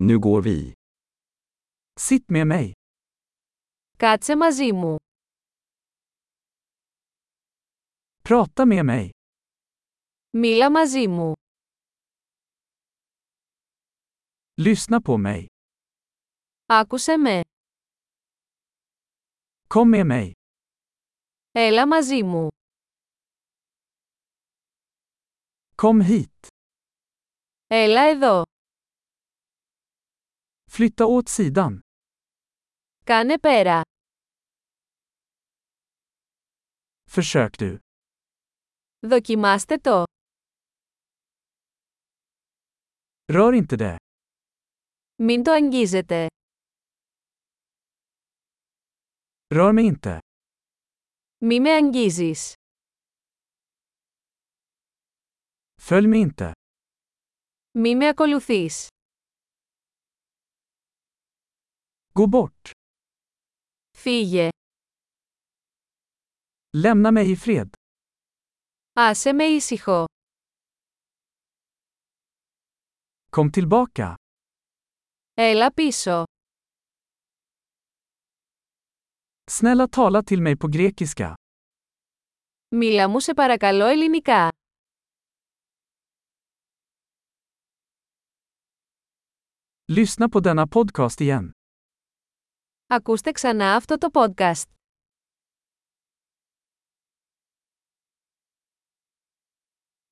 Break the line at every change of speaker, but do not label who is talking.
Nu går vi. Sitt med mig.
Κάτσε μαζί μου.
Prata med mig.
Μίλα μαζί μου.
Lyssna på mig.
Άκουσε με.
Kom med mig.
Έλα μαζί μου.
Kom hit.
Έλα εδώ.
Flytta åt sidan.
Κάνε πέρα.
Försök du.
Δοκιμάστε το.
Rör inte det.
Μην το αγγίζετε.
Rör mig inte.
Μη με αγγίζεις.
Följ mig inte.
Μη με ακολουθείς.
Gå bort.
Φύγε.
Lämna mig i fred.
Άσε με ήσυχο.
Kom tillbaka.
Έλα πίσω.
Snälla tala till mig på grekiska.
Μίλα μου σε παρακαλώ ελληνικά.
Lyssna på denna podcast igen.
Ακούστε ξανά αυτό το podcast.